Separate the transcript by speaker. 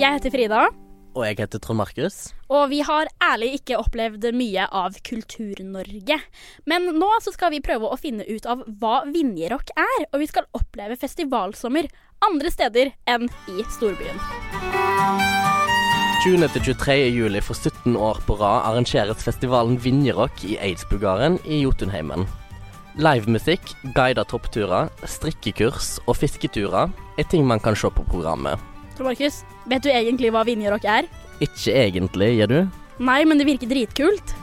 Speaker 1: Jeg heter Frida,
Speaker 2: Og jeg heter Trond Markus.
Speaker 1: og vi har ærlig ikke opplevd mye av Kultur-Norge. Men nå så skal vi prøve å finne ut av hva Vinjerock er, og vi skal oppleve festivalsommer andre steder enn i storbyen.
Speaker 2: 20.-23. juli for 17 år på rad arrangeres festivalen Vinjerock i Eidsbugaren i Jotunheimen. Livemusikk, guidede toppturer, strikkekurs og fisketurer er ting man kan se på programmet.
Speaker 1: Tor Markus, vet du egentlig hva Vinjerock er?
Speaker 2: Ikke egentlig, gjør du?
Speaker 1: Nei, men det virker dritkult.